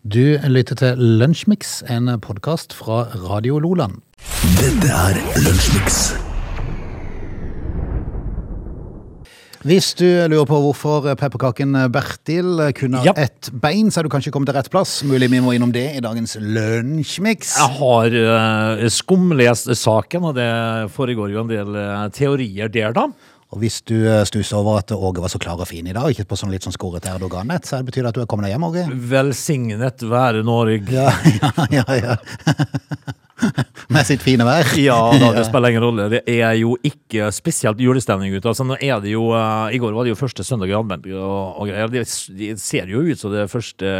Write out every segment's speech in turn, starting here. Du lytter til Lunsjmix, en podkast fra Radio Loland. Dette er Lunsjmix. Hvis du lurer på hvorfor pepperkaken Bertil kun har Ja. ett bein, så er du kanskje kommet til rett plass. Mulig vi må innom det i dagens Lunsjmix. Jeg har eh, skumlest saken, og det foregår jo en del eh, teorier der, da. Og hvis du eh, stusser over at Åge var så klar og fin i dag, ikke på sånn litt sånn skåret erdoganett, så betyr det at du er kommet deg hjem, Åge. Velsignet være Norge. Ja, ja, ja. ja. Med sitt fine vær. Ja da, det spiller ingen rolle. Det er jo ikke spesielt julestemning ute. Altså, nå er det jo, eh, I går var det jo første søndag i advent og, og greier. Det, s- det ser jo ut som det er første,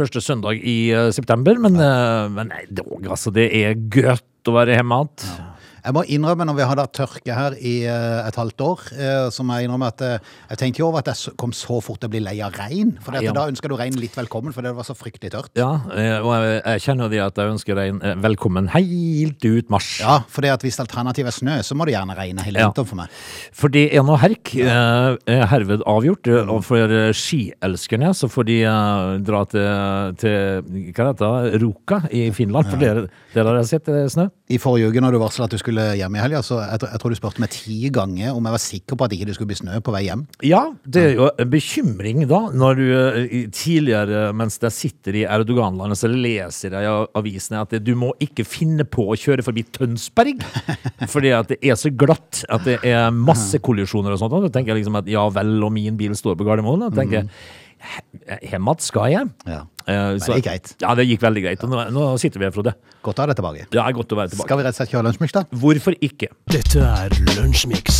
første søndag i eh, september, men, eh, men nei, dog, altså, det er godt å være hjemme igjen. Jeg må innrømme, når vi hadde hatt tørke her i eh, et halvt år, eh, så må jeg innrømme at eh, jeg tenkte jo over at jeg s- kom så fort til å bli lei av regn. For Ja. da ønsker du regn litt velkommen, for det var så fryktelig tørt. Ja, eh, og jeg, jeg kjenner det at jeg ønsker deg en eh, velkommen helt ut mars. Ja, for hvis alternativet er snø, så må det gjerne regne hele Ja. vinteren for meg. For det er noe herk eh, er herved avgjort. eh, Og for eh, skielskerne så får de eh, dra til, til hva heter det, Ruka i Finland. For dere, dere har sett eh, snø? I forrige uke når du varslet at du skulle hjem i helga, så jeg, tr- jeg tror du spurte meg ti ganger om jeg var sikker på at ikke det skulle bli snø på vei hjem. Ja, det er jo en bekymring da, når du eh, i- tidligere, mens jeg sitter i Erdoganlandet, så leser jeg i a- avisene at du må ikke finne på å kjøre forbi Tønsberg, fordi at det er så glatt at det er masse kollisjoner og sånt. og Da tenker jeg liksom at ja vel, og min bil står på Gardermoen, da tenker Mm. jeg, he- hjem igjen skal jeg. Ja. Eh, det gikk greit. Ja, det gikk veldig greit. Og nå, nå sitter vi her, Frode. Godt å ha deg tilbake. Det er godt å være tilbake. Skal vi rett og slett kjøre lunsjmix, da? Hvorfor ikke? Dette er Lunsjmix.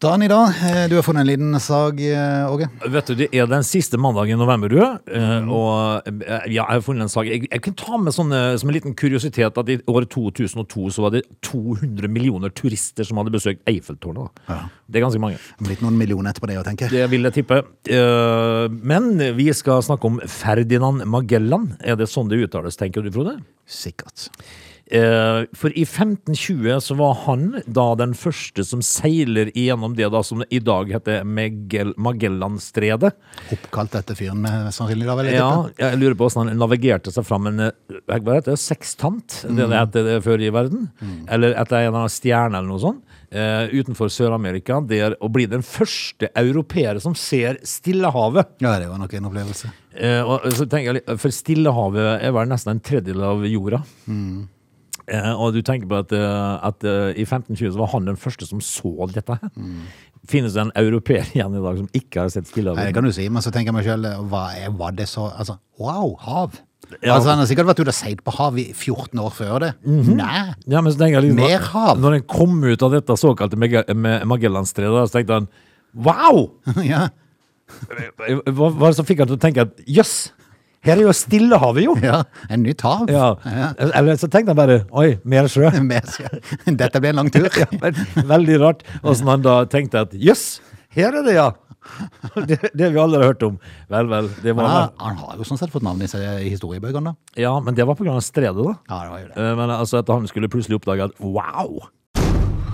Dagen i dag, eh, du har funnet en liten sag, eh, Åge. Vet du, Det er den siste mandagen i november, du. eh, Og eh, ja, jeg har funnet en sak. Jeg, jeg kan ta med sånn, eh, som en liten kuriositet at i året 2002 så var det 200 millioner turister som hadde besøkt Eiffeltårnet. da. Det er ganske mange. Det har blitt noen millioner etterpå det, å tenke. Det vil jeg tippe. Eh, Men vi skal snakke om Ferdinand Magellan. Er det sånn det uttales, tenker du, Frode? Sikkert. Eh, For i 1520 så var han da den første som seiler igjennom det da som i dag heter Magell Magellanstredet. Oppkalt etter fyren, eh, sannsynlig, da vel? jeg tipper. Ja, jeg lurer på hvordan han navigerte seg fram en eh, hva heter det, sekstant, det det het før i verden, eller etter en eller annen stjerne eller noe sånt, eh, utenfor Sør-Amerika, der å bli den første europeer som ser Stillehavet. Ja, det var nok en opplevelse. Eh, og så tenker jeg, litt- for Stillehavet er vel nesten en tredjedel av jorda. Eh, og du tenker på at, eh, at eh, i 1520 så var han den første som så dette. her. Finnes det en europeer igjen i dag som ikke har Nei, sett det Stillehavet? kan du si, men så tenker jeg meg sjøl, hva er, var det så Altså, wow, hav! Ja. Altså, Han har sikkert vært ute og seilt på hav i 14 år før det. Mhm. Nei! Ja, men så tenker jeg liksom, Mer hav. Når den kom ut av dette såkalte Mega- Ma- Magellanstredet, så tenkte han Wow! ja. Hva hva er det som fikk han til å tenke at jøss, her er jo Stillehavet, jo! ja, En nytt hav. Ja. Eller så tenkte han bare Oi, mer sjø. Med seg- Dette blir en lang tur. Men Veldig rart. Åssen han da tenkte at jøss, her er det, ja! Det, det vi aldri har hørt om. Vel, vel. Det Men var, han, han har jo sånn sett fått navnet i, seg- i historiebøkene, da. Ja, men det var på grunn av stredet, da. Ja, det var jo det. Eh, Men altså at han skulle plutselig oppdage at wow!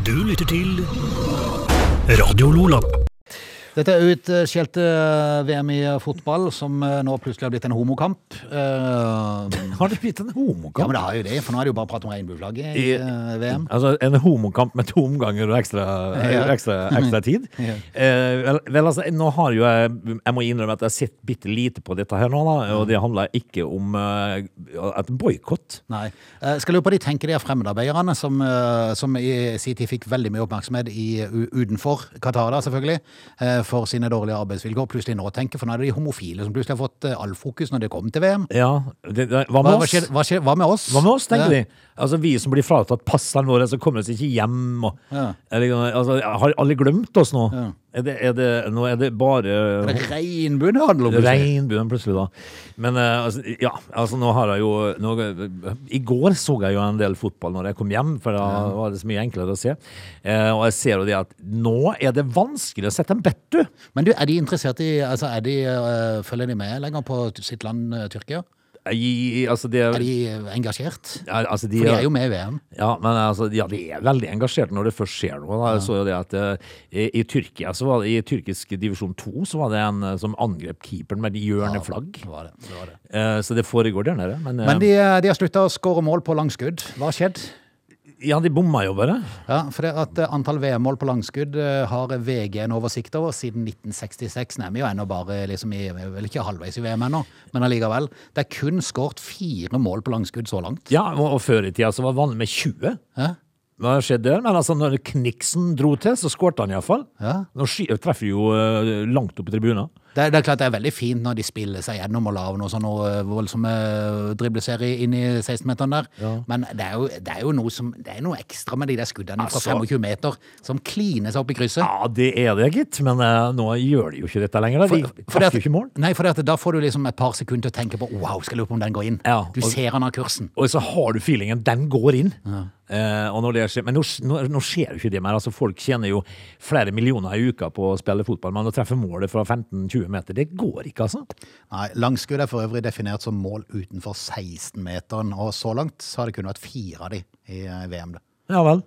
Du lytter til Radio Lola. Dette er utskjelte VM i fotball, som eh, nå plutselig har blitt en homokamp. Eh, Har det blitt en Ja, men homokamp? det har jo det, for nå er det jo bare prat om regnbueflagget i I- eh, VM. Altså en homokamp med to omganger og ekstra, Ja. ekstra, ekstra tid. Ja. Eh, vel, vel, altså, nå har jo jeg Jeg må innrømme at jeg har sett bitte lite på dette her nå, da. Og det handler ikke om eh, et boikott. Nei. Eh, Skal lure på de tenker de er fremmedarbeiderne som, eh, som i sin tid fikk veldig mye oppmerksomhet i, u- utenfor Qatar, da, selvfølgelig, eh, for sine dårlige arbeidsvilkår. Plutselig nå tenker, for nå er det de homofile som plutselig har fått eh, all fokus når det kom til VM. Ja, det, det, hva Hva, med hva, oss? skjer, hva, skjer, hva med oss? Hva med oss, tenker Ja. de? Altså Vi som blir fratatt passene våre, så kommer vi oss ikke hjem. Og, Ja. eller, altså, har alle glemt oss nå? Ja. Er det, er det, nå er det Det bare er Regnbue det handler om. plutselig. regnbuen plutselig, da. Men eh, altså, ja, altså nå har jeg jo nå, eh, I går så jeg jo en del fotball når jeg kom hjem, for da var det så mye enklere å se. Eh, og jeg ser jo det at nå er det vanskelig å sette en bet, du. Men du, er de interessert i altså, er de, eh, Følger de med lenger på sitt land, eh, Tyrkia? i- altså, det Er de engasjert? Ja, altså de, For de er jo med i VM. ja, men altså, ja, de er veldig engasjert når det først skjer noe. Da. Jeg så jo det at eh, i, i Tyrkia, så var det, i tyrkisk divisjon 2, så var det en eh, som angrep keeperen med de hjørne flagg. Det var det. det, var det. Eh, så det foregår der nede. Men, eh, Men de, de har slutta å skåre mål på langskudd. Hva har skjedd? ja, de bomma jo bare. Ja, for det at eh, Antall VM-mål på langskudd eh, har VG en oversikt over siden 1966. Nei, vi er jo ennå bare liksom i, vel ikke halvveis i VM ennå, men allikevel. Det er kun skåret fire mål på langskudd så langt. Ja, og, og før i tida så var det vanlig med 20. Hæ? Hva skjedde der? Men altså, når Kniksen dro til, så skårte han iallfall. Ja. Nå sky- treffer jo eh, langt opp i tribunen. Det, er- det er klart det er veldig fint når de spiller seg gjennom og lager noe sånn eh, voldsomme eh, dribleserie inn i 16-meteren der, men det er, jo, det er jo noe som Det er noe ekstra med de der skuddene fra Altså. 25 meter som kliner seg opp i krysset. Ja, det er det, gitt. Men eh, nå gjør de jo ikke dette lenger. Da. De Fordi treffer jo ikke mål. Nei, for at da får du liksom et par sekunder til å tenke på Wow, skal jeg lure på om den går inn. Ja, du og- ser han har kursen. Og så har du feelingen, den går inn. Eh, og når det skjer, men nå, nå, nå skjer jo ikke det mer. Altså, folk tjener jo flere millioner i uka på å spille fotball, men å treffe målet fra 15-20 meter, det går ikke, altså. Nei, Langskudd er for øvrig definert som mål utenfor 16-meteren, og så langt så har det kun vært fire av de i eh, VM. da. Ja vel.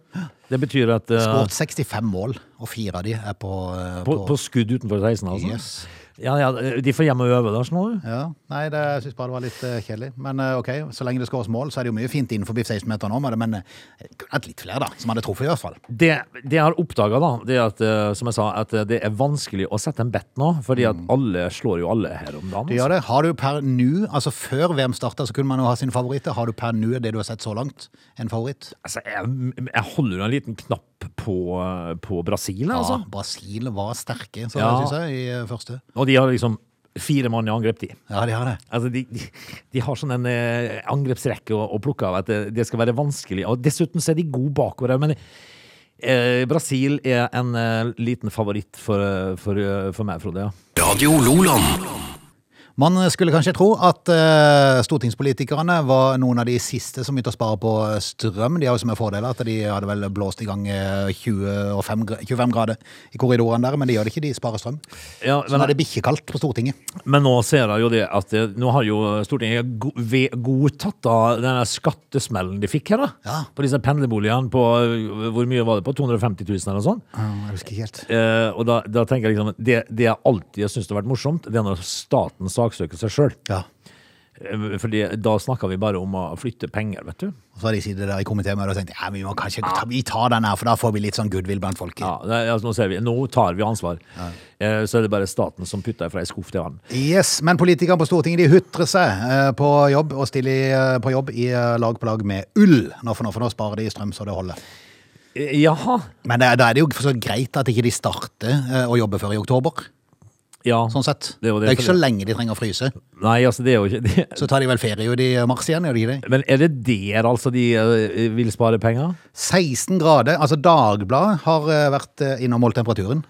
Det betyr at eh, Skåret 65 mål, og fire av de er på, eh, på, på skudd utenfor 16, altså. Yes. Ja, ja, de får hjem og øve, da, sånn. nå. Ja, Nei, det, jeg syns bare det var litt eh, kjedelig. Men eh, OK, så lenge det skåres mål, så er det jo mye fint innenfor 16-meteren òg, men eh, det kunne vært litt flere, da, som hadde truffet, i hvert fall. Det, det jeg har oppdaga, da, det er at, eh, som jeg sa, at eh, det er vanskelig å sette en bet nå. Fordi at alle slår jo alle her om dagen. Du gjør Mm. det. Har du per nu, altså før VM starta, så kunne man jo ha sine favoritter. Har du per nu det du har sett så langt, en favoritt? Altså, jeg, jeg holder jo en liten knapp på, eh, på Brasil, altså. Ja, Ah, Brasil var sterke, så Ja. synes jeg, i eh, første. Og de har liksom fire mann i angrep, de. Ja, de har det. Altså, de, de, de har sånn en eh, angrepsrekke å, å plukke av at eh, det, det skal være vanskelig. Og dessuten så er de gode bakover her, men eh, Brasil er en eh, liten favoritt for, eh, for, eh, for meg, Frode. Ja. Radio Loland. Man skulle kanskje tro at eh, stortingspolitikerne var noen av de siste som begynte å spare på strøm. De har jo som en fordel at de hadde vel blåst i gang eh, 25, gra- 25 grader i korridoren der, men de gjør det ikke, de sparer strøm. Ja, Så nå men, er det bikkjekaldt på Stortinget. men nå ser jeg jo det at eh, nå har jo Stortinget go- ve- godtatt da denne skattesmellen de fikk her, da. Ja. På disse pendlerboligene på eh, Hvor mye var det på? 250 000 eller noe sånt? Jeg husker ikke helt. Eh, og da, da tenker jeg liksom at Det, det jeg alltid har syntes har vært morsomt, det er når staten saksøker seg sjøl. Ja. Fordi da snakker vi bare om å flytte penger, vet du. Og så har de sittet der i komitémøtet og tenkt ja, vi må kanskje ta, vi tar den her, for da får vi litt sånn goodwill blant folket. Ja, det er- altså, nå, ser vi. nå tar vi ansvar. Eh, Så er det bare staten som putter fra ei skuff til vann. Yes, men politikerne på Stortinget de hutrer seg eh, på jobb og stiller i, eh, på jobb i eh, lag på lag med ull. Nå for nå, for nå sparer de strøm så det holder. Eh, Jaha. Men det, er- da er det jo for så vidt greit at ikke de starter eh, å jobbe før i oktober. Ja. Sånn sett. Det er jo det ikke for så lenge de trenger å fryse. Nei, altså, det er jo ikke det. Så tar de vel ferie jo, de, i mars igjen, gjør de ikke det? Men er det der altså de eh, vil spare penger? 16 grader. Altså Dagbladet har eh, vært eh, inne og målt temperaturen.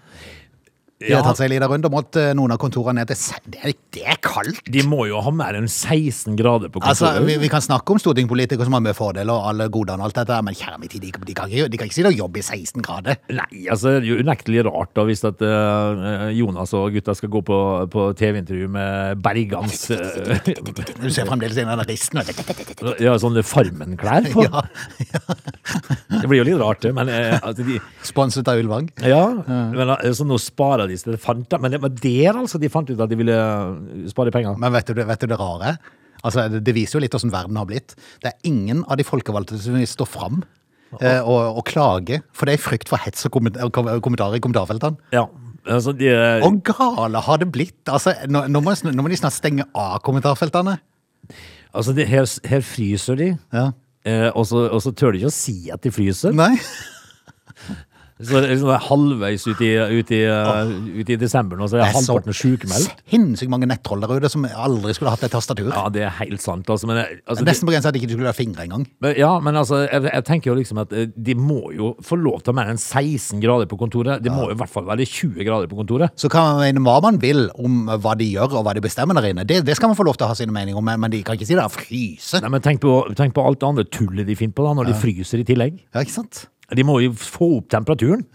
De har Ja. tatt seg en liten runde og målt eh, noen av kontorene ned til se- Det er, det er kaldt! De må jo ha mer enn 16 grader på Altså, kontoret. vi, vi kan snakke om stortingspolitikere som har mye fordeler og alle godene og alt dette, her, men kjære min tid, de, de, kan ikke, de kan ikke sitte og jobbe i 16 grader. Nei, altså, det er jo unektelig rart da hvis at eh, Jonas og gutta skal gå på, på TV-intervju med Bergans eh, Du ser fremdeles en av den risten. vet du. Ja, sånne Farmen-klær på. Ja, Det blir jo litt rart, det, men eh, altså, de sponset av Ulvang. Ja, men eh, så nå sparer de seg. Det fant de- Men det var der altså de fant ut at de ville eh, spare penger. Men vet du, det- vet du det rare? Altså, det, det viser jo litt hvordan verden har blitt. Det er ingen av de folkevalgte som vil stå fram eh, og, og klage, for det er i frykt for hets og komment- og kom- kommentarer i kommentarfeltene. Ja, altså de Og gale har det blitt! Altså, nå, nå, må, nå må de snart stenge av kommentarfeltene. Altså, de, her, her fryser de. Ja. eh, Og så, og så tør de ikke å si at de fryser. Nei? Så det er liksom halvveis ut i, ut i, eh, ut i desember nå, så er halvparten sjukmeldt. Sinnssykt mange nettroll der ute som aldri skulle hatt et tastatur. Ja, det er helt sant. Altså, men, eh, altså, de, Nesten på grensa at ikke du skulle ha fingre engang. men- ja, men altså, jeg, jeg tenker jo liksom at eh, de må jo få lov til å ha mer enn 16 grader på kontoret. Det må jo i hvert fall være 20 grader på kontoret. Så kan man mene hva man vil om hva de gjør og hva de bestemmer der inne. Det, det skal man få lov til å ha sine meninger om, men- men de kan ikke si det er fryse. Nei, men tenk på, tenk på alt det andre tullet de finner på da, når de fryser i tillegg. Ja, ikke sant? De må jo få opp temperaturen.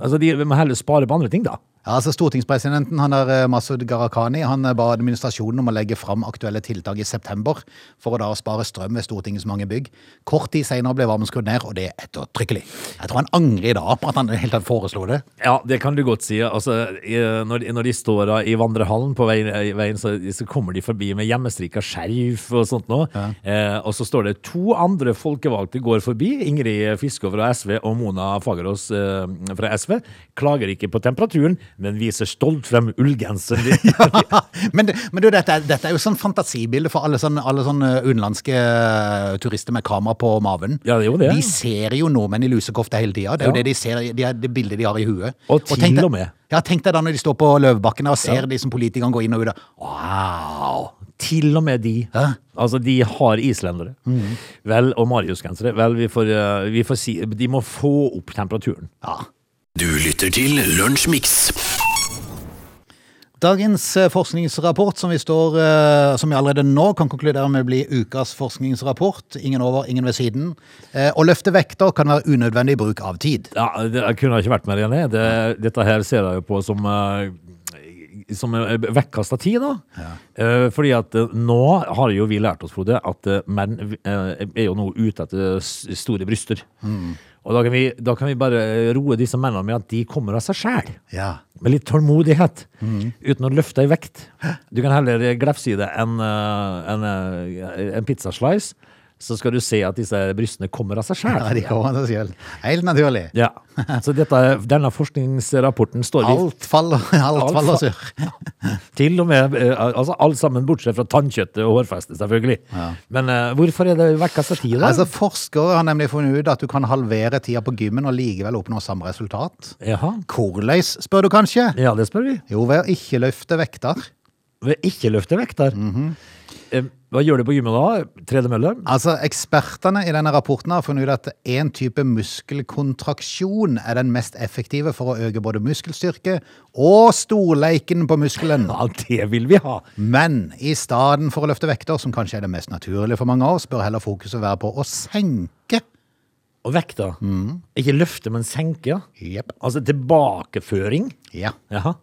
Altså, de må heller spare på andre ting, da. Ja, altså Stortingspresidenten han er eh, Masud Gharahkhani han eh, ba administrasjonen om å legge fram aktuelle tiltak i september for å da spare strøm ved Stortingets mange bygg. Kort tid senere ble varmen skrudd ned, og det ettertrykkelig. Jeg tror han angrer i dag på at han i det hele tatt foreslo det. Ja, det kan du godt si. Altså, eh, når, når de står da i vandrehallen på veien, i veien så, så kommer de forbi med hjemmestrikka skjerf og sånt nå. Eh, og så står det to andre folkevalgte går forbi. Ingrid Fiskå fra SV og Mona Fagerås eh, fra SV. Klager ikke på temperaturen, men viser stolt frem ullgenseren. din. men, det- men du, dette, er- dette er jo sånn fantasibilde for alle sånne, alle sånne utenlandske eh, turister med kamera på maven. Ja, det er jo det. De ser jo nordmenn i lusekofte hele tida. Det er jo Ja. det de ser, de er, det bildet de har i huet. Og til tenk deg- og med. Ja, tenk deg da når de står på Løvebakken og ser de som politikerne går inn og ut. av. Wow! Til og med de. Hæ? Altså, de har islendere. Vel, og mariusgensere. Vel, vi får, eh, vi får si De må få opp temperaturen. Ja. Du lytter til Lunsjmix. Dagens eh, forskningsrapport, som vi, står, eh, som vi allerede nå kan konkludere med blir ukas forskningsrapport, ingen over, ingen ved siden, Eh, å løfte vekter kan være unødvendig bruk av tid. Ja, det kunne ikke vært mer enig. Det, dette her ser jeg jo på som uh, som eh, vekkast av tid, da. Eh, fordi at eh, nå har jo vi lært oss, Frode, at eh, menn eh, er jo nå ute etter s- store bryster. Og da kan, vi, da kan vi bare roe disse mennene med at de kommer av seg sjæl. Ja. Med litt tålmodighet, uten å løfte ei vekt. Du kan heller glefse i det enn eh, en, eh, en pizzaslice, så skal du se at disse brystene kommer av seg sjæl. Ja, de kommer av seg selv. Helt naturlig. Ja, så dette, denne forskningsrapporten står vi Alt faller, alt Alt faller fa- sur. til og med, eh, altså alt sammen bortsett fra tannkjøttet og hårfestet selvfølgelig. Men eh, hvorfor er det vekka satir da? Altså, forskere har nemlig funnet ut at du kan halvere tida på gymmen og likevel oppnå samme resultat. Jaha, Korleis, spør du kanskje? ja det spør vi. Jo, ved å ikke løfte vekter. Vi ikke løfter vekk der. Eh, Hva gjør du på gymmet da? Tredemølle? Altså, Ekspertene i denne rapporten har funnet ut at én type muskelkontraksjon er den mest effektive for å øke både muskelstyrke og storleiken på muskelen. Ja, det vil vi ha. Men i stedet for å løfte vekter, som kanskje er det mest naturlige for mange av oss, bør heller fokuset være på å senke. Og vekta. Ikke løfte, men senke. ja. Jepp. Altså tilbakeføring. Ja. Jaha.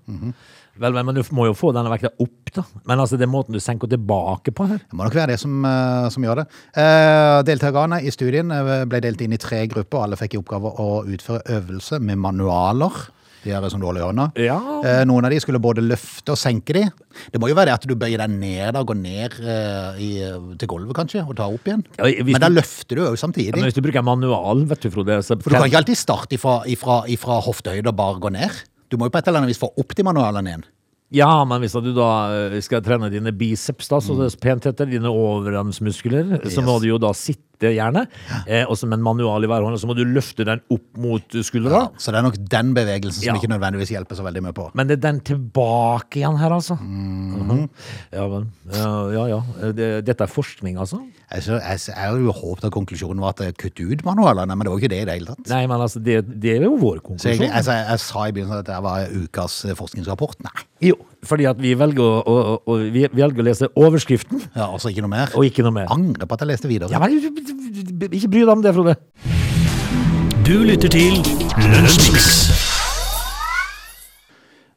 Vel, men du må jo få denne vekta opp da. Men altså det er måten du senker tilbake på her. Det må nok være det som, eh, som gjør det. Eh, deltakerne i studien eh, ble delt inn i tre grupper, og alle fikk i oppgave å utføre øvelse med manualer. De her er som dårlig i hånda. Ja. Eh, noen av de skulle både løfte og senke de. Det må jo være det at du bøyer deg ned da, går ned eh, i, til gulvet kanskje, og tar opp igjen. Ja, hvis Men da du- løfter du jo Men samtidig. hvis du bruker manual, vet du Frode, så For du kan ikke alltid starte ifra, ifra, ifra hoftehøyde og bare gå ned. Du må jo på et eller annet vis få opp de manualene igjen. Ja, men hvis at du da eh, skal trene dine biceps, da, så det er pent heter dine overarmsmuskler, så må Yes. du jo da sitte gjerne, eh, og som en manual i hver hånd, og så må du løfte den opp mot skuldra. Så det er nok den bevegelsen som Ja. ikke nødvendigvis hjelper så veldig mye på. Men det er den tilbake igjen her, altså. Mhm. Ja, men, ja, ja, ja. Eh, Det, dette er forskning, altså? Jeg, så, jeg, så, jeg hadde jo håpet at konklusjonen var at eh, kutt ut manualene, men det var jo ikke det i det hele tatt. Nei, men altså, det, det er jo vår Så konklusjon. egentlig, altså, jeg, jeg sa i begynnelsen at det var ukas eh, forskningsrapport. Nei, Jo, fordi at vi velger å, å, å, å- vi velger å lese overskriften, ja, altså ikke noe mer. og ikke noe mer. Angrer på at jeg leste videre. Ja, men du- du- du- du- ikke bry deg om det, Frode. Du lytter til Lunsjmix.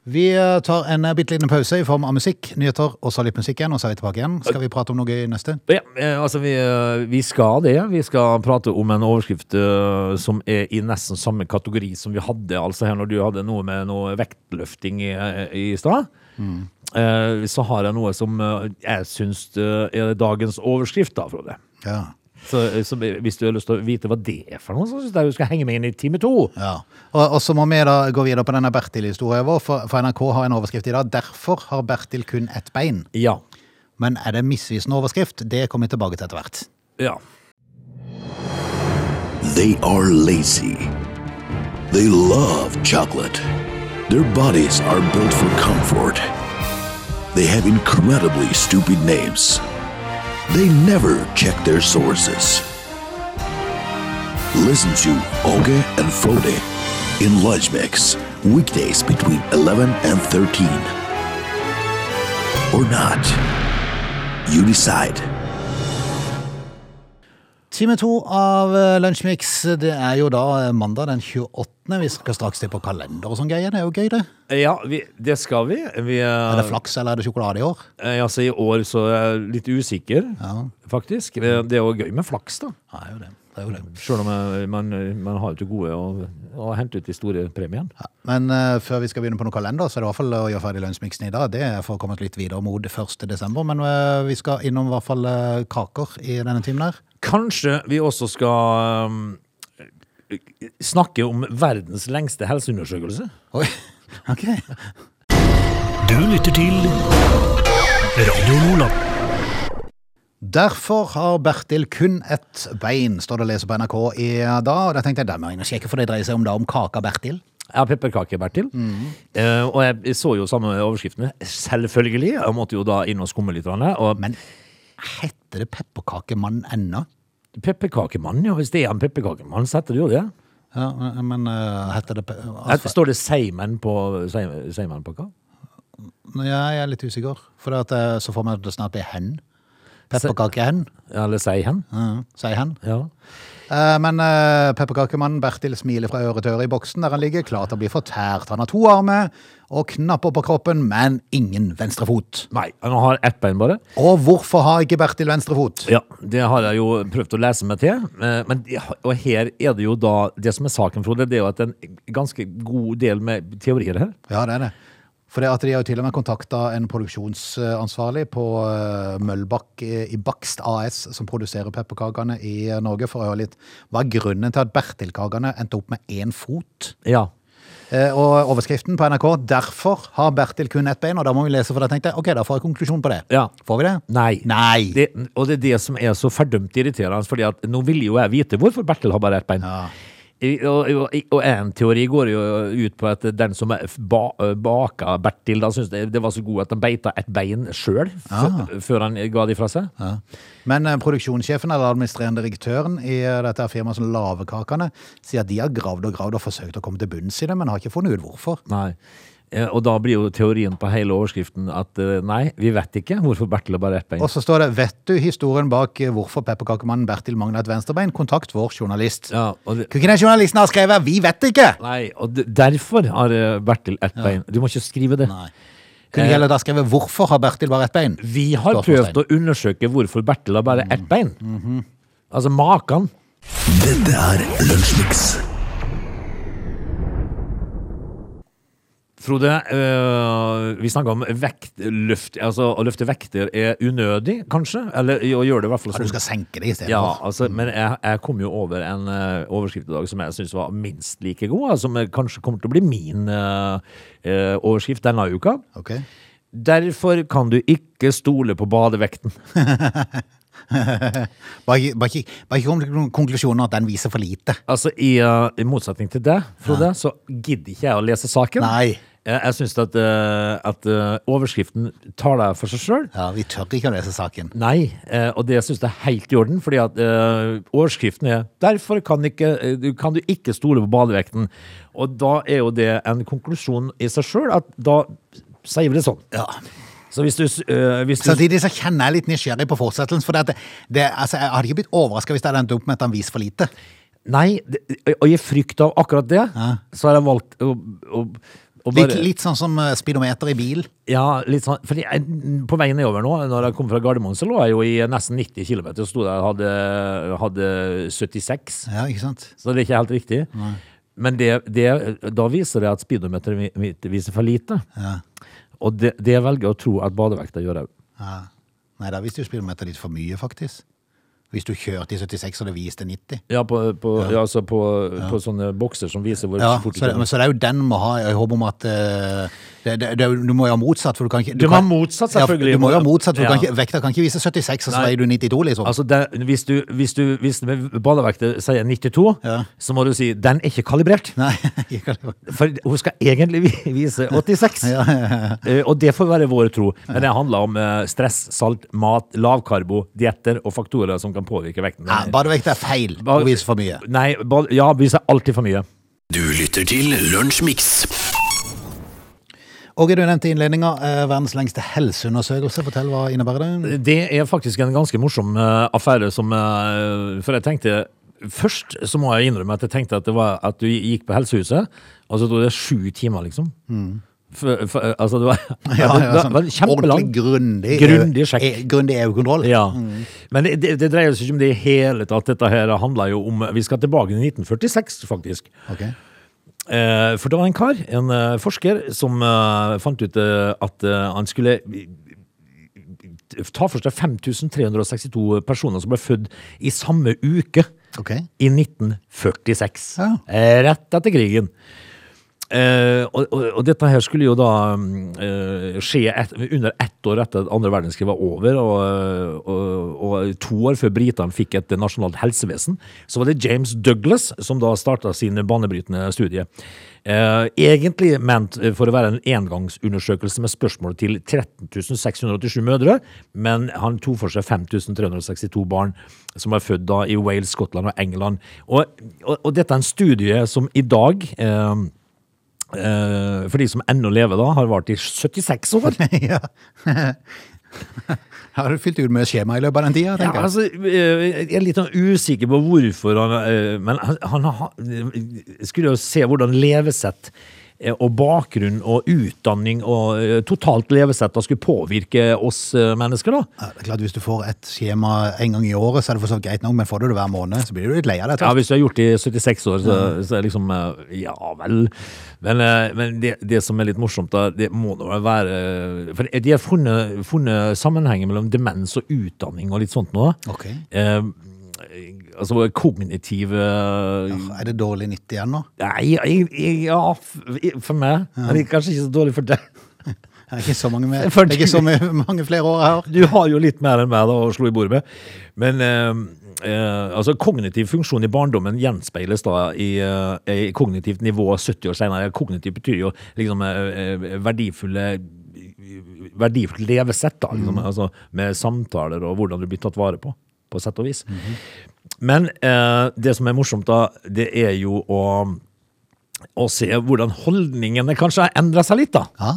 Vi eh, tar en eh, bitte liten pause i form av musikk, nyheter og så litt musikk igjen, og så er vi tilbake igjen. Skal vi prate om noe gøy neste? Ja, eh, altså vi, eh, vi skal det. Vi skal prate om en overskrift eh, som er i nesten samme kategori som vi hadde altså her når du hadde noe med noe vektløfting i, i stad. Mm. Eh, Så har jeg noe som eh, jeg syns eh, er dagens overskrift, da, Frode. Ja. Så, eh, så hvis du har lyst til å vite hva det er for noe, så syns jeg du skal henge med inn i time to. ja. Og, og så må vi da gå videre på denne Bertil-historien vår, for, for NRK har en overskrift i dag. Derfor har Bertil kun ett bein. Ja. Men er det misvisende overskrift? Det kommer vi tilbake til etter hvert. ja. They are lazy. They love chocolate. Their bodies are built for comfort. They have incredibly stupid names. They never check their sources. Listen to Oge and Frode in Lunch Mix, weekdays between 11 and 13. Or not. You decide. Time to av eh, Lunsjmix, det er jo da eh, mandag den 28. Vi skal straks se på kalender og sånn greier. Det er jo gøy, det. Ja, vi, det skal vi. vi eh, Er det flaks, eller er det sjokolade i år? altså, I år så er jeg litt usikker, faktisk. Eh, Det er jo gøy med flaks, da. Ja, det er jo det. det, er jo det. Sjøl om eh, man, man har jo til gode å, å hente ut de store premiene. Ja, Men eh, før vi skal begynne på noen kalender, så er det i hvert fall å gjøre ferdig lunsjmiksen i dag. Det er for å komme oss litt videre mot 1. desember, men eh, vi skal innom i hvert fall eh, kaker i denne timen her. Kanskje vi også skal um, snakke om verdens lengste helseundersøkelse? Oi, ok. Du lytter til Radio Lola. Derfor har Bertil kun ett bein, står det å lese på NRK i dag. Og da tenkte jeg, der må jeg inn og sjekke, for det dreier seg om da om kaka Bertil. Ja, pepperkake, Bertil. Eh, og jeg så jo samme overskriftene, selvfølgelig. Jeg måtte jo da inn og skumme litt. grann, Og Men heter det pepperkakemann ennå? pepperkakemann, ja. Hvis det er en pepperkakemann, så heter det jo det. Ja, men eh, heter det pe- Her altså, Står det Seimen på Seim- Seimenpakka? Ja, jeg er litt usikker, for det at, eh, så får man det snart bli hen. Pepperkakehen, Eller Seihen? Mhm, sier hen. Ja. Eh, Men eh, pepperkakemannen Bertil smiler fra øre til øre i boksen der han ligger, klar til å bli fortært. Han har to armer og knapper på kroppen, men ingen venstre fot. Nei, han har ett bein bare. Og hvorfor har ikke Bertil venstre fot? Ja, Det har jeg jo prøvd å lese meg til. eh, Men, de har- og her er det jo da Det som er saken, Frode, det er jo at en ganske god del med teorier her. Ja, det er det. For det at de har jo til og med kontakta en produksjonsansvarlig på eh, Møllbakk eh, i Bakst AS, som produserer pepperkakene i eh, Norge, for å høre litt hva er grunnen til at Bertil-kakene endte opp med én fot. Ja. Eh, Og overskriften på NRK 'Derfor har Bertil kun ett bein', og da må vi lese, for da tenkte jeg ok, da får jeg konklusjon på det. Ja. Får vi det? Nei. Nei. Det, og det er det som er så fordømt irriterende, fordi at nå vil jo jeg vite hvorfor Bertil har bare ett bein. Ja. I- Og, og, og en teori går jo ut på at den som er f- ba, baka Bertil, da syntes det, det var så god at han beita ett bein sjøl før han ga det fra seg. Ja. Men eh, produksjonssjefen eller administrerende direktøren i eh, dette firmaet som lager kakene, sier at de har gravd og gravd og forsøkt å komme til bunns i det, men har ikke funnet ut hvorfor. Nei. Eh, Og da blir jo teorien på hele overskriften at eh, nei, vi vet ikke hvorfor Bertil har bare ett bein. Og så står det 'Vet du historien bak eh, hvorfor pepperkakemannen Bertil mangler et venstrebein?' Kontakt vår journalist. Ja, og det, Kunne ikke den journalisten ha skrevet 'Vi vet ikke'? nei, og d- derfor har eh, Bertil ett bein. Du må ikke skrive det. Nei. Kunne de heller da skrevet 'Hvorfor har Bertil bare ett bein'? Eh. Vi har Spørsmålstegn. prøvd å undersøke hvorfor Bertil har bare ett bein. Altså maken. Dette er Lunsjmix. Frode, eh, vi snakka om vektløft. Altså, å løfte vekter er unødig, kanskje? Eller å gjøre det i hvert fall Ja, du skal sånn. senke det istedenfor. Ja, altså, men jeg, jeg kom jo over en eh, overskrift i dag som jeg syns var minst like god, som eh, kanskje kommer til å bli min eh, eh, overskrift denne uka. Ok. Derfor kan du ikke stole på badevekten. Bare ikke- bare ikke bare ikke kom til noen konklusjoner at den viser for lite. Altså, i, eh, I motsetning til deg, Frode, så gidder ikke jeg å lese saken. Nei. Jeg, jeg syns at, eh, at eh, overskriften tar deg for seg sjøl. Ja, Vi tør ikke å lese saken. Nei, eh, og det syns jeg er helt i orden, fordi at eh, overskriften er 'Derfor kan, ikke, eh, du- kan du ikke stole på badevekten'. Og da er jo det en konklusjon i seg sjøl, at da sier vi det sånn. Ja. Så hvis du, s- eh, hvis du Samtidig så kjenner jeg litt nysgjerrig på fortsettelsen. For det, at det, det, altså, jeg hadde ikke blitt overraska hvis det hadde endt opp med at han viser for lite. Nei, det- og i frykt av akkurat det, så har jeg valgt å, å, å bare Litt, litt sånn som eh, speedometer i bil. Ja, litt sånn, fordi jeg, på veien nedover nå, når jeg kom fra Gardermoen, så lå jeg jo i nesten 90 km, og stod der og hadde, hadde 76. Ja, ikke sant? Så det er ikke helt riktig. Men det, det, da viser det at speedometeret mi- mitt viser for lite. Og det, det velger jeg å tro at badevekta gjør òg. Ja. Nei, da viste jo speedometer litt for mye, faktisk. Hvis du kjørte i 76 og det viste 90. Ja, på, på, ja. altså på, på sånne bokser som viser hvor Ja, så, fort du det, men kommer. så det er jo den du må ha i håp om at eh, det, det, det, er jo- Du må jo ha motsatt, for du kan ikke Du må kan- ha motsatt, Ja, for selvfølgelig. du må jo ha motsatt, for du Ja. kan ikke, Vekta kan ikke vise 76, og så Nei. veier du 92, liksom. Altså, det, hvis du, hvis du hvis det med badevekta sier 92, Ja. så må du si 'den er ikke kalibrert'. Nei, ikke kan det- For hun skal egentlig vi- vise 86. Eh, Og det får være vår tro. Men det handler om eh, stress, salt, mat, lavkarbo, dietter og faktorer som kan påvirke vekten. Nei, badevekt er feil å Bare- vise for mye. Nei, ba- ja, vi ser alltid for mye. Du lytter til Lunsjmix. Åge, du nevnte i innledninga eh, verdens lengste helseundersøkelse. Fortell hva innebærer det? Det er faktisk en ganske morsom eh, affære som eh, For jeg tenkte Først så må jeg innrømme at jeg tenkte at, det var at du gikk på helsehuset. Altså det er sju timer, liksom. For, for, eh, altså det var, det, det, var kjempelang. sånn ordentlig grundig, Grundig sjekk. eh, Grundig EU-kontroll. Ja. Men det, det, det dreier seg ikke om det i hele tatt. Dette her handler jo om Vi skal tilbake til 1946, faktisk. Ok. Eh, for det var en kar, en eh, forsker, som eh, fant ut eh, at eh, han skulle eh, ta for seg 5362 personer som ble født i samme uke Ok. i 1946. Ja. Eh, Rett etter krigen. Eh, og, og, og dette her skulle jo da mm, eh, skje et, under ett år etter at andre verdenskrig var over, og, og, og to år før britene fikk et nasjonalt helsevesen. Så var det James Douglas som da starta sin banebrytende studie. Eh, egentlig ment for å være en engangsundersøkelse med spørsmål til 13 687 mødre, men han tok for seg 5362 barn som er født da i Wales, Skottland og England. Og, og, og dette er en studie som i dag eh, Eh, for de som ennå lever da, har vart i 76 år. ja. Har du fylt ut mye skjema i løpet av den tida? Ja, tenker jeg? altså, eh, jeg er litt sånn usikker på hvorfor han eh, Men han, han har- skulle jo se hvordan levesett eh, og bakgrunn og utdanning og eh, totalt levesett da skulle påvirke oss eh, mennesker, da. Ja, det er klart, Hvis du får et skjema en gang i året, så er det for så vidt greit nok, men får du det hver måned, så blir du litt lei av det. Ja, etter hvert. Hvis du har gjort det i 76 år, så, så er det liksom eh, Ja vel. Men, eh, men det, det som er litt morsomt, da, det må da vel være For de har funnet, funnet sammenhengen mellom demens og utdanning og litt sånt nå. Ok. Eh, altså kognitiv eh, Er det dårlig nytt igjen nå? Nei, jeg, jeg, ja, f- for meg. Men det er kanskje ikke så dårlig for deg. Det er ikke så mange, mer- For det er ikke så mye- mange flere år jeg har. Du har jo litt mer enn meg da å slå i bordet med. Men eh, eh, altså kognitiv funksjon i barndommen gjenspeiles da i, eh, i kognitivt nivå 70 år senere. Kognitiv betyr jo liksom eh, eh, verdifulle verdifullt levesett, da, liksom, altså, med samtaler og hvordan du blir tatt vare på, på sett og vis. Men eh, det som er morsomt, da, det er jo å, å se hvordan holdningene kanskje har endra seg litt, da.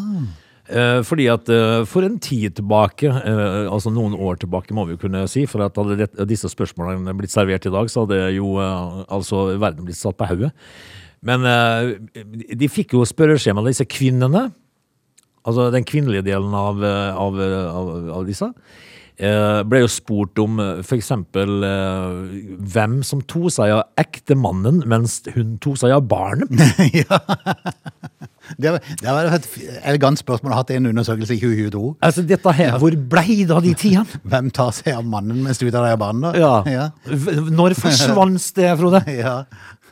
Eh, Fordi at eh, for en tid tilbake, eh, altså noen år tilbake må vi jo kunne si, for at hadde det- disse spørsmålene blitt servert i dag, så hadde jo eh, altså verden blitt satt på hauet. Men eh, de fikk jo spørreskjema av disse kvinnene, altså den kvinnelige delen av, eh, av, eh, av, av disse, eh, ble jo spurt om eh, for eksempel eh, hvem som tog seg av ektemannen mens hun tog seg av barnet. ja. Det var, det var et elegant spørsmål å ha hatt i en undersøkelse i 2022. Altså dette her, hvor blei det av de tidene? Hvem tar seg av mannen mens du tar deg av barnet? Ja. Ja. V- Når forsvant det, Frode? ja.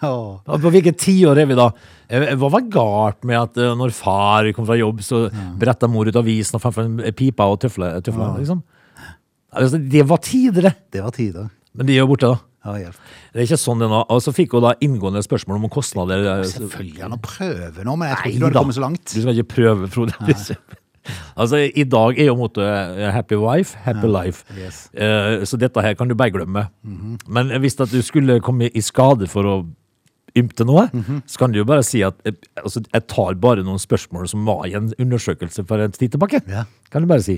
Åh. Og På hvilket tiår er vi da? Eh, Hva var galt med at eh, når far kom fra jobb, så bretta mor ut avisen og fant frem pipa og tøfla, tøfla liksom? Altså, det var tider, det. Det var tider. Men de er jo borte, da. Ja, hjelp. Det er ikke sånn det nå. Og så fikk hun da inngående spørsmål om kostnader. eh, Selvfølgelig han å prøve nå, men jeg tror Nei ikke du hadde da. kommet så langt. Du skal ikke prøve, Frode. altså, I dag er jo mottoet eh, 'happy wife, happy life'. yes. Mhm. Eh, så dette her kan du bare glemme. Men hvis at du skulle komme i skade for å ymte noe, Mhm. så kan du jo bare si at eh, altså, jeg tar bare noen spørsmål som var i en undersøkelse for en tid tilbake. Ja. Kan du bare si.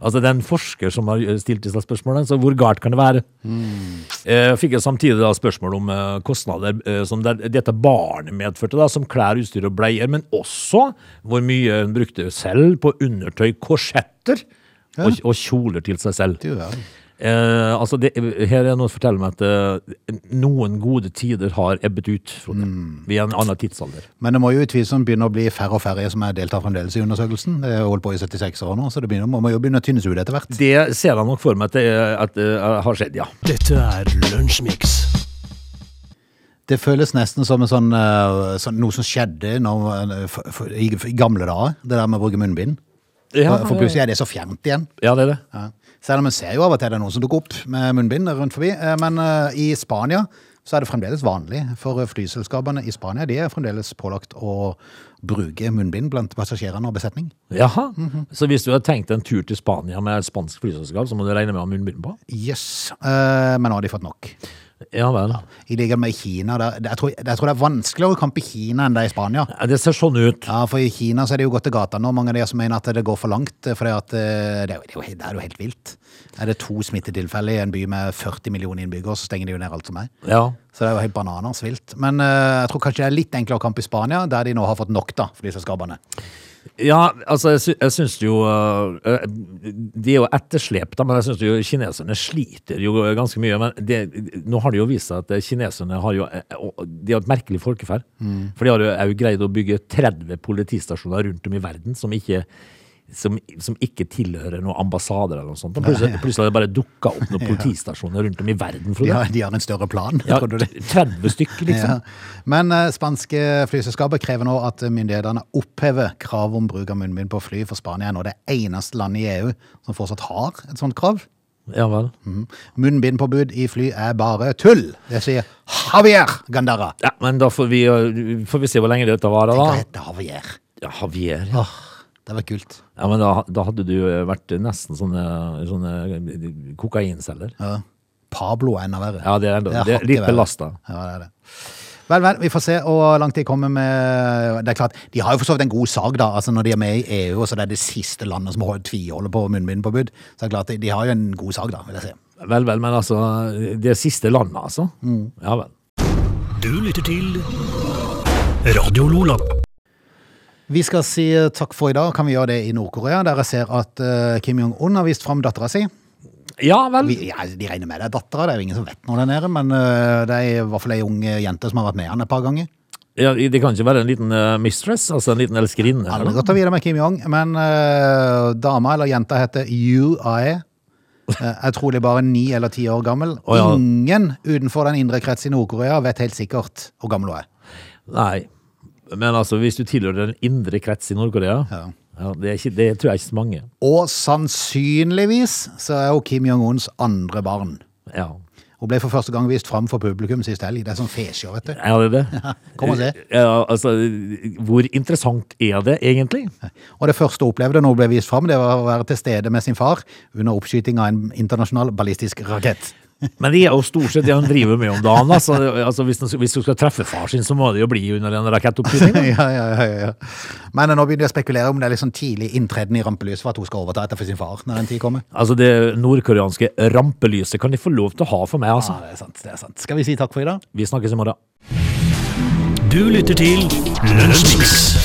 Altså, det er en forsker som har eh, stilt disse spørsmålene, så hvor galt kan det være? Eh, fikk jeg samtidig da spørsmål om eh, kostnader eh, som der, dette barnet medførte, da, som klær, utstyr og bleier, men også hvor mye hun brukte selv på undertøy, korsetter og, og kjoler til seg selv. Du, ja. Eh, altså det, her er noe som forteller meg at eh, noen gode tider har ebbet ut. Frode. Mm. Vi er i en annen tidsalder. Men det må jo utvilsomt begynne å bli færre og færre som er deltar fremdeles i undersøkelsen. Det har holdt på i 76 år nå, så det begynner, må jo begynne å tynnes ut etter hvert. Det ser jeg nok for meg at det er- at, eh, har skjedd, ja. Dette er Lunsjmix. Det føles nesten som en sånn, eh, sånn, noe som skjedde når, eh, for, for, i, i gamle dager, det der med å bruke munnbind. Ja, for, for plutselig er det så fjernt igjen. ja, det er det. Ja. Selv om en ser jo av og til det er noen som dukker opp med munnbind rundt forbi. eh, Men eh, i Spania så er det fremdeles vanlig for eh, flyselskapene i Spania. De er fremdeles pålagt å bruke munnbind blant passasjerene og besetning. Jaha. Mhm. Så hvis du har tenkt en tur til Spania med et spansk flyselskap, så må du regne med å ha munnbind på? Yes. Eh, men nå har de fått nok. Ja vel. I likhet med i Kina. Der, jeg, tror, jeg tror det er vanskeligere kamp i Kina enn det er i Spania. Ja, Det ser sånn ut. Ja, for i Kina så er det jo gått til gata nå. Mange av de som mener at det går for langt. For det, at, eh, det, er jo- det er jo helt- det er jo helt vilt. Er det to smittetilfeller i en by med 40 millioner innbyggere, så stenger de jo ned alt som er. Ja. Så det er jo helt bananas vilt. Men eh, jeg tror kanskje det er litt enklere kamp i Spania, der de nå har fått nok da, for disse skabbene. Ja, altså, jeg, sy jeg syns jo øh, øh, De er jo etterslep, da, men jeg syns jo kineserne sliter jo ganske mye. Men det, nå har det jo vist seg at eh, kineserne har jo eh, og De har et merkelig folkeferd. For de har jo, er jo greid å bygge 30 politistasjoner rundt om i verden som ikke som, som ikke tilhører noen ambassader eller noe sånt. Og Plutselig, plutselig har det bare dukka opp noen politistasjoner rundt om i verden. De Frode. har, de har en større plan, Ja, tror du det? 30 stykker, liksom. Ja. Men eh, spanske flyselskaper krever nå at myndighetene opphever krav om bruk av munnbind på fly, for Spania er nå det eneste landet i EU som fortsatt har et sånt krav. Ja vel. Munnbindpåbud i fly er bare tull. Det sier Javier Gandara. Ja, men da får vi, øh, får vi se hvor lenge dette varer, Hva da. heter Javier? Ja, Javier, ja. Åh, det var kult. Ja, men da, da hadde du eh, vært nesten sånne, sånne eh, kokainceller. Ja. Pablo er enda verre. Ja, det er, enda- det er hakket litt verre. belasta. Ja, det er det. Vel, vel, vi får se hvor langt de kommer med Det er klart, De har jo for så vidt en god sak, da. Altså Når de er med i EU, og så det er det siste landet som hold- tviholder på munnbindpåbud, så er det klart, de- de har jo en god sak, da. vil jeg si. Vel, vel, men altså, det siste landet, altså. Mm. Ja vel. Du lytter til Radio Lola. Vi skal si eh, takk for i dag. Kan vi gjøre det i Nord-Korea, der jeg ser at eh, Kim Jong-un har vist fram dattera si? Ja vel. Vi, ja, de regner med det er dattera, det er jo ingen som vet når den er, men øh, det er i hvert fall ei ung øh, jente som har vært med han et par ganger. Ja, det kan ikke være en liten eh, mistress, altså en liten elskerinne. Aldri eller? gått videre med Kim Jong, men øh, dama eller jenta heter Yu Ae. øh, Er trolig bare ni eller ti år gammel. Å, ja. Ingen utenfor den indre krets i Nord-Korea vet helt sikkert hvor gammel hun er. Nei. Men altså, hvis du tilhører den indre krets i Nord-Korea, ja. Ja. det, er ikke, det tror jeg ikke så mange. Og sannsynligvis så er hun Kim Jong-uns andre barn. Ja. Hun ble for første gang vist fram for publikum sist helg. Det er sånn fesjå, vet du. Er det det? Kom og se. Ja, altså, hvor interessant er det egentlig? Og det første hun opplevde når hun ble vist fram, det var å være til stede med sin far under oppskyting av en internasjonal ballistisk rakett. Men det er jo stort sett det han driver med om dagen. Altså, altså hvis, han- hvis du skal treffe far sin, så må det jo bli under en rakettoppskyting. ja, da. ja, ja, ja. Men eh, nå begynner jeg å spekulere om det er litt sånn tidlig inntreden i rampelyset for at hun skal overta etter for sin far når den tid kommer. Altså det nordkoreanske rampelyset kan de få lov til å ha for meg, altså. Ja, det er sant, det er sant. Skal vi si takk for i dag? Vi snakkes i morgen. Du lytter til Lunsjmix.